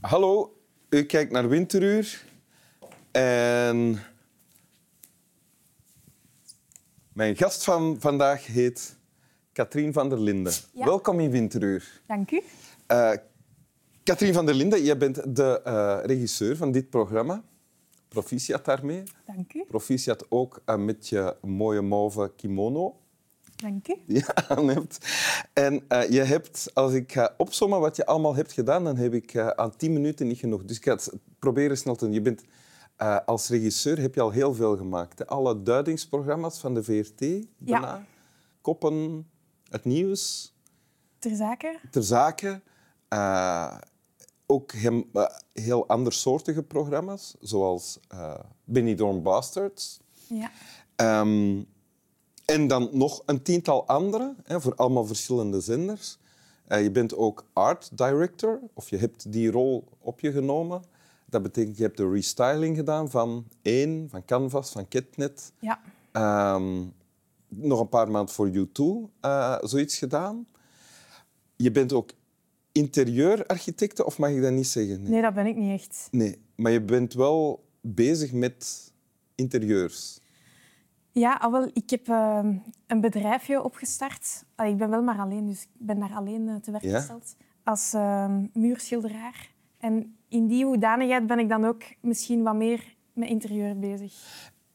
Hallo, u kijkt naar Winteruur. En mijn gast van vandaag heet Katrien van der Linden. Ja. Welkom in Winteruur. Dank u. Eh Katrien van der Linden, jij bent de eh, regisseur van dit programma. Proficiat daarmee. Dank u. Proficiat ook eh, met je mooie mauve kimono. Dank u. die je aan hebt. En eh, je hebt, als ik ga opzommen wat je allemaal hebt gedaan, dan heb ik eh, aan 10 minuten niet genoeg. Dus ik ga het proberen snel te doen. Je bent, eh, als regisseur heb je al heel veel gemaakt. Hè? Alle duidingsprogramma's van de VRT, bijna. Koppen, het nieuws, Ter zake. ter zake. Eh, ook hem, eh, heel andersoortige programma's, zoals eh Benny Dorn Bastards. Ja. Ehm, en dan nog een tiental andere, hè, voor allemaal verschillende zenders. Eh, je bent ook art director, of je hebt die rol op je genomen. Dat betekent, je hebt de restyling gedaan van één, van Canvas, van Ketnet. Ja. Ehm, nog een paar maanden voor U2 eh, zoiets gedaan. Je bent ook interieurarchitecte, of mag ik dat niet zeggen? Nee, dat ben ik niet echt. nee. Maar je bent wel bezig met interieurs. Ja, al wel, ik heb eh, een bedrijfje opgestart. Allee, ik ben wel maar alleen, dus ik ben daar alleen eh, te werk Ja. gesteld. Als eh, muurschilderaar. En in die hoedanigheid ben ik dan ook misschien wat meer met interieur bezig.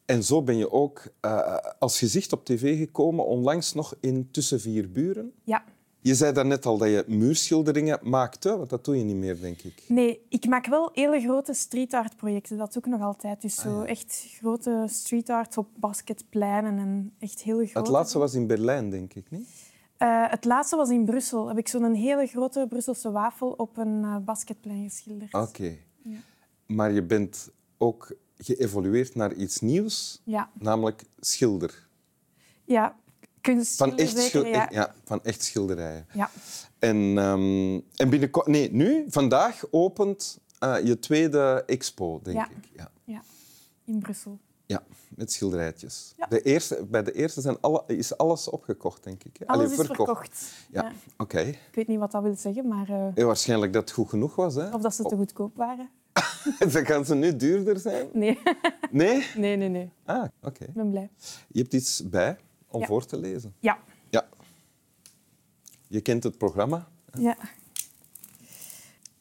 En zo ben je ook eh, als gezicht op tv gekomen, onlangs nog in Tussen Vier Buren. Ja. Je zei daarnet al dat je muurschilderingen maakte, want dat doe je niet meer, denk ik. Nee, ik maak wel hele grote street art projecten. Dat doe ik nog altijd. Ah, Dus zo echt grote street art op basketpleinen en echt heel grote. Het laatste was in Berlijn, denk ik, niet? Eh, het laatste was in Brussel. Heb ik zo'n hele grote Brusselse wafel op een eh, basketplein geschilderd. Oké. Maar je bent ook geëvolueerd naar iets nieuws, Ja. namelijk schilder. ja, kunst. Van echt, schil- zeker, ja. echt- ja, van echt schilderijen. Ja. En, ehm, en binnenkort... Nee, nu, vandaag, opent eh, je tweede expo, denk Ja. ik. Ja. ja, in Brussel. Ja, met schilderijtjes. Ja. De eerste, bij de eerste zijn alle, is alles opgekocht, denk ik. hè? Alles Allee, is verkocht. Ja, Ja. oké. Ik weet niet wat dat wil zeggen, maar eh, Ja, waarschijnlijk dat het goed genoeg was. Hè? of dat ze te goedkoop waren. Dan gaan ze nu duurder zijn. Nee, Nee? nee, nee, nee. Ah, oké. Ik ben blij. Je hebt iets bij om Ja. voor te lezen. Ja. Ja. Je kent het programma. ja.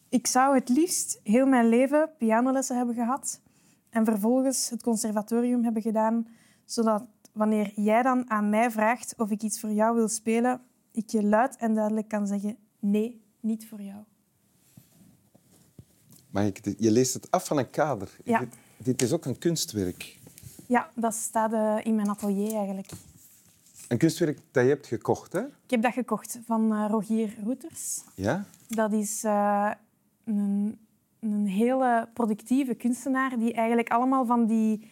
Ik zou het liefst heel mijn leven pianolessen hebben gehad en vervolgens het conservatorium hebben gedaan, zodat wanneer jij dan aan mij vraagt of ik iets voor jou wil spelen, ik je luid en duidelijk kan zeggen nee, niet voor jou. Mag ik dit- Je leest het af van een kader. Ja. Dit, dit is ook een kunstwerk. Ja, dat staat eh, in mijn atelier eigenlijk. Een kunstwerk dat je hebt gekocht, hè? Ik heb dat gekocht van eh, Rogier Roeters. Ja? Dat is eh, een, een hele productieve kunstenaar die eigenlijk allemaal van die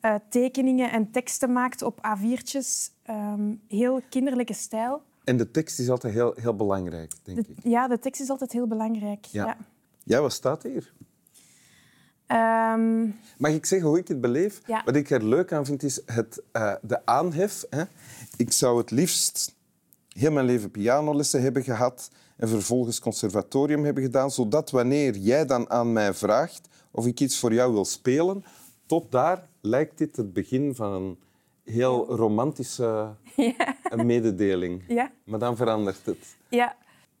eh, tekeningen en teksten maakt op A4'tjes. Ehm, heel kinderlijke stijl. En de tekst is altijd heel, heel belangrijk, denk De- ik. ja, de tekst is altijd heel belangrijk. Ja. Ja. Ja, wat staat hier? Ehm, Mag ik zeggen hoe ik het beleef? Ja. Wat ik er leuk aan vind, is het, eh, de aanhef. Hè. Ik zou het liefst heel mijn leven pianolessen hebben gehad en vervolgens conservatorium hebben gedaan, zodat wanneer jij dan aan mij vraagt of ik iets voor jou wil spelen, tot daar lijkt dit het begin van een heel romantische eh, mededeling. ja. Maar dan verandert het. Ja,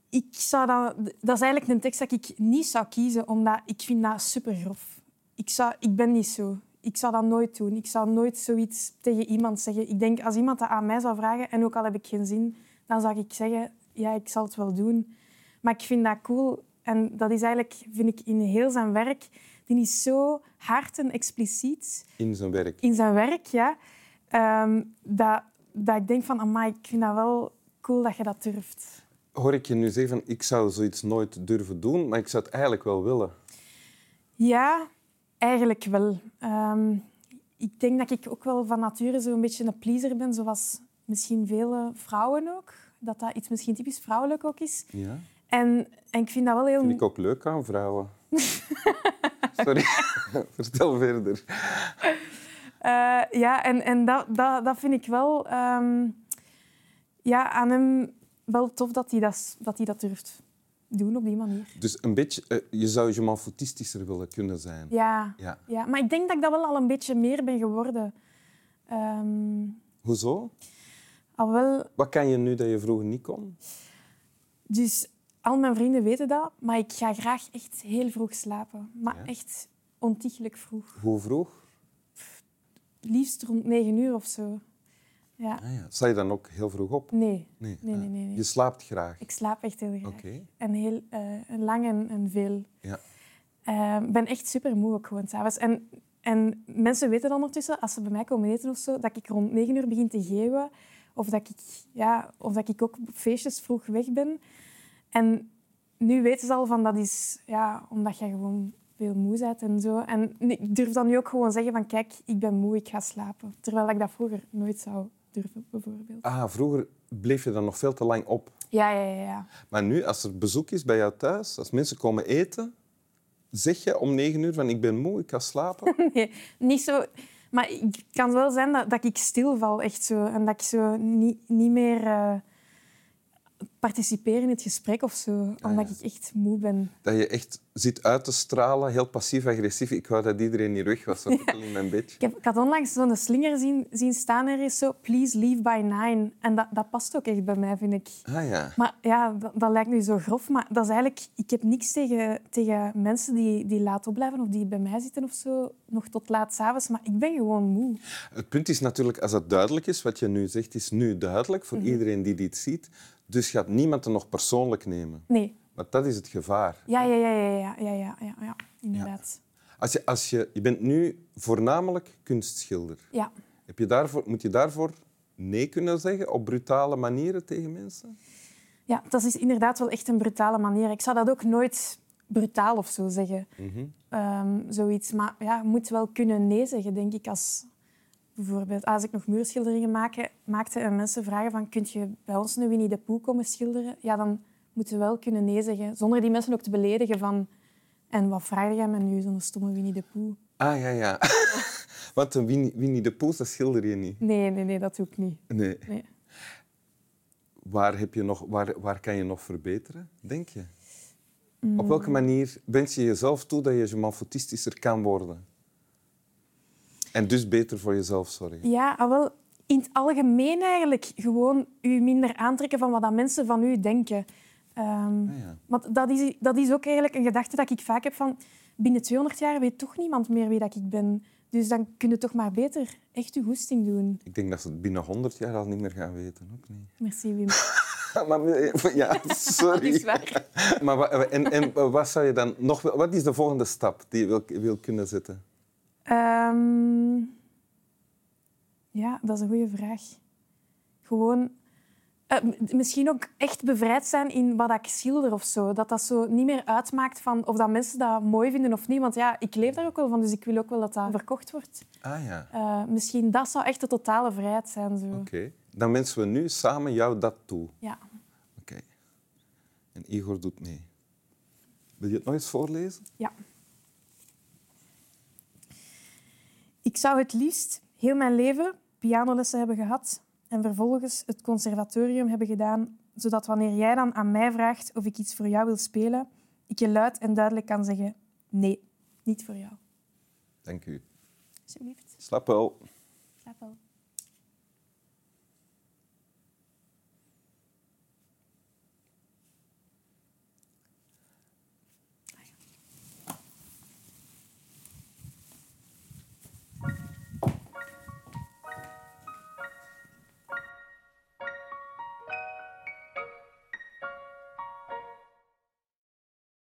ik zou dat, dat is eigenlijk een tekst dat ik niet zou kiezen, omdat ik vind dat super grof. Ik, zou, ik ben niet zo. Ik zou dat nooit doen. Ik zou nooit zoiets tegen iemand zeggen. Ik denk, als iemand dat aan mij zou vragen, en ook al heb ik geen zin, dan zou ik zeggen, ja, ik zal het wel doen. Maar ik vind dat cool. En dat is eigenlijk, vind ik, in heel zijn werk, die is zo hard en expliciet In zijn werk. in zijn werk, ja, ehm, dat, dat ik denk van, amai, ik vind dat wel cool dat je dat durft. Hoor ik je nu zeggen van ik zou zoiets nooit durven doen, maar ik zou het eigenlijk wel willen. Ja, eigenlijk wel. Ehm, ik denk dat ik ook wel van nature zo'n beetje een pleaser ben, zoals misschien vele vrouwen ook. Dat dat iets misschien typisch vrouwelijk ook is. Ja. En, en ik vind dat wel heel... Vind ik ook leuk aan vrouwen. Sorry, vertel verder. Eh, ja, en, en dat, dat, dat vind ik wel... ehm, ja, aan hem wel tof dat hij dat, dat, hij dat durft. doen op die manier. Dus een beetje, eh, je zou je manfoutistischer willen kunnen zijn. Ja. Ja. ja, maar ik denk dat ik dat wel al een beetje meer ben geworden. Ehm, Hoezo? al wel Wat kan je nu dat je vroeger niet kon? Dus al mijn vrienden weten dat, maar ik ga graag echt heel vroeg slapen. Maar Ja? echt ontiegelijk vroeg. Hoe vroeg? Liefst rond negen uur of zo. Ja. Ah, ja. Sta je dan ook heel vroeg op? Nee, Nee. nee, ah. nee, nee. nee. Je slaapt graag. Ik slaap echt heel graag. Oké. En heel eh, en lang en, en veel. Ja. Eh, Ik ben echt super moe ook gewoon s'avonds. En, en mensen weten dan ondertussen, als ze bij mij komen eten of zo, dat ik rond negen uur begin te geeuwen. Of dat ik, ja, of dat ik ook op feestjes vroeg weg ben. En nu weten ze al van dat is ja, omdat je gewoon veel moe bent en zo. En nu- ik durf dan nu ook gewoon zeggen van kijk, ik ben moe, ik ga slapen. Terwijl ik dat vroeger nooit zou durven, bijvoorbeeld. Ah, vroeger bleef je dan nog veel te lang op. Ja, ja, ja. ja. Maar nu, als er bezoek is bij jou thuis, als mensen komen eten, zeg je om negen uur van ik ben moe, ik ga slapen. Nee, niet zo. Maar ik- het kan wel zijn dat, dat ik stilval, echt zo. En dat ik zo niet, niet meer eh, participeer in het gesprek of zo. omdat ik echt moe ben. dat je echt zit uit te stralen, heel passief-agressief. Ik wou dat iedereen hier weg was, dat ik al in mijn bedje. Ik, heb, ik had onlangs zo'n slinger zien, zien staan er is zo... Please leave by nine. En dat, dat past ook echt bij mij, vind ik. Ah ja. Maar ja, dat, dat lijkt nu zo grof. Maar dat is eigenlijk... Ik heb niks tegen, tegen mensen die, die laat opblijven of die bij mij zitten of zo. Nog tot laat s'avonds. Maar ik ben gewoon moe. Het punt is natuurlijk, als dat duidelijk is, wat je nu zegt, is nu duidelijk voor iedereen die dit ziet. Dus gaat niemand het nog persoonlijk nemen. Nee. Want dat is het gevaar. Ja, ja, ja, ja, ja, ja, ja, ja, ja inderdaad. Als je, als je, je bent nu voornamelijk kunstschilder. Ja. Heb je daarvoor, moet je daarvoor nee kunnen zeggen op brutale manieren tegen mensen? ja, dat is inderdaad wel echt een brutale manier. Ik zou dat ook nooit brutaal of zo zeggen. Ehm, zoiets. Maar ja, je moet wel kunnen nee zeggen, denk ik. Als, bijvoorbeeld, als ik nog muurschilderingen maak- maakte en mensen vragen van kun je bij ons nu Winnie de Pooh komen schilderen? Ja, dan moeten we wel kunnen nee zeggen. Zonder die mensen ook te beledigen van... En wat vraag jij me nu, zo'n stomme Winnie de Pooh? Ah ja, ja. Want een Winnie, Winnie de Pooh, dat schilder je niet. Nee, nee, nee, dat doe ik niet. Nee. Nee. Waar, heb je nog, waar, waar kan je nog verbeteren, denk je? Mm. Op welke manier wens je jezelf toe dat je je manfoutistischer kan worden? En dus beter voor jezelf zorgen. Ja, ah, wel in het algemeen eigenlijk gewoon u minder aantrekken van wat dat mensen van u denken. Ehm, Ah, ja. Want dat is, dat is ook eigenlijk een gedachte dat ik vaak heb van binnen 200 jaar weet toch niemand meer wie dat ik ben. Dus dan kun je toch maar beter echt uw goesting doen. Ik denk dat ze het binnen 100 jaar al niet meer gaan weten. Ook niet. Merci, Wim. Maar, eh, ja, sorry. Dat is waar. Maar wa- en, en wat zou je dan nog... wel- Wat is de volgende stap die je wil, wil kunnen zetten? Ehm, ja, dat is een goede vraag. Gewoon eh, m- misschien ook echt bevrijd zijn in wat ik schilder of zo. Dat dat zo niet meer uitmaakt van of dat mensen dat mooi vinden of niet. Want ja, ik leef daar ook wel van, dus ik wil ook wel dat dat verkocht wordt. Ah ja, Eh, misschien dat zou echt de totale vrijheid zijn. Zo. oké. Dan wensen we nu samen jou dat toe. Ja. Oké. En Igor doet mee. Wil je het nog eens voorlezen? Ja. Ik zou het liefst heel mijn leven pianolessen hebben gehad en vervolgens het conservatorium hebben gedaan, zodat wanneer jij dan aan mij vraagt of ik iets voor jou wil spelen, ik je luid en duidelijk kan zeggen: nee, niet voor jou. Dank u. Alsjeblieft, Slap wel. slaap wel.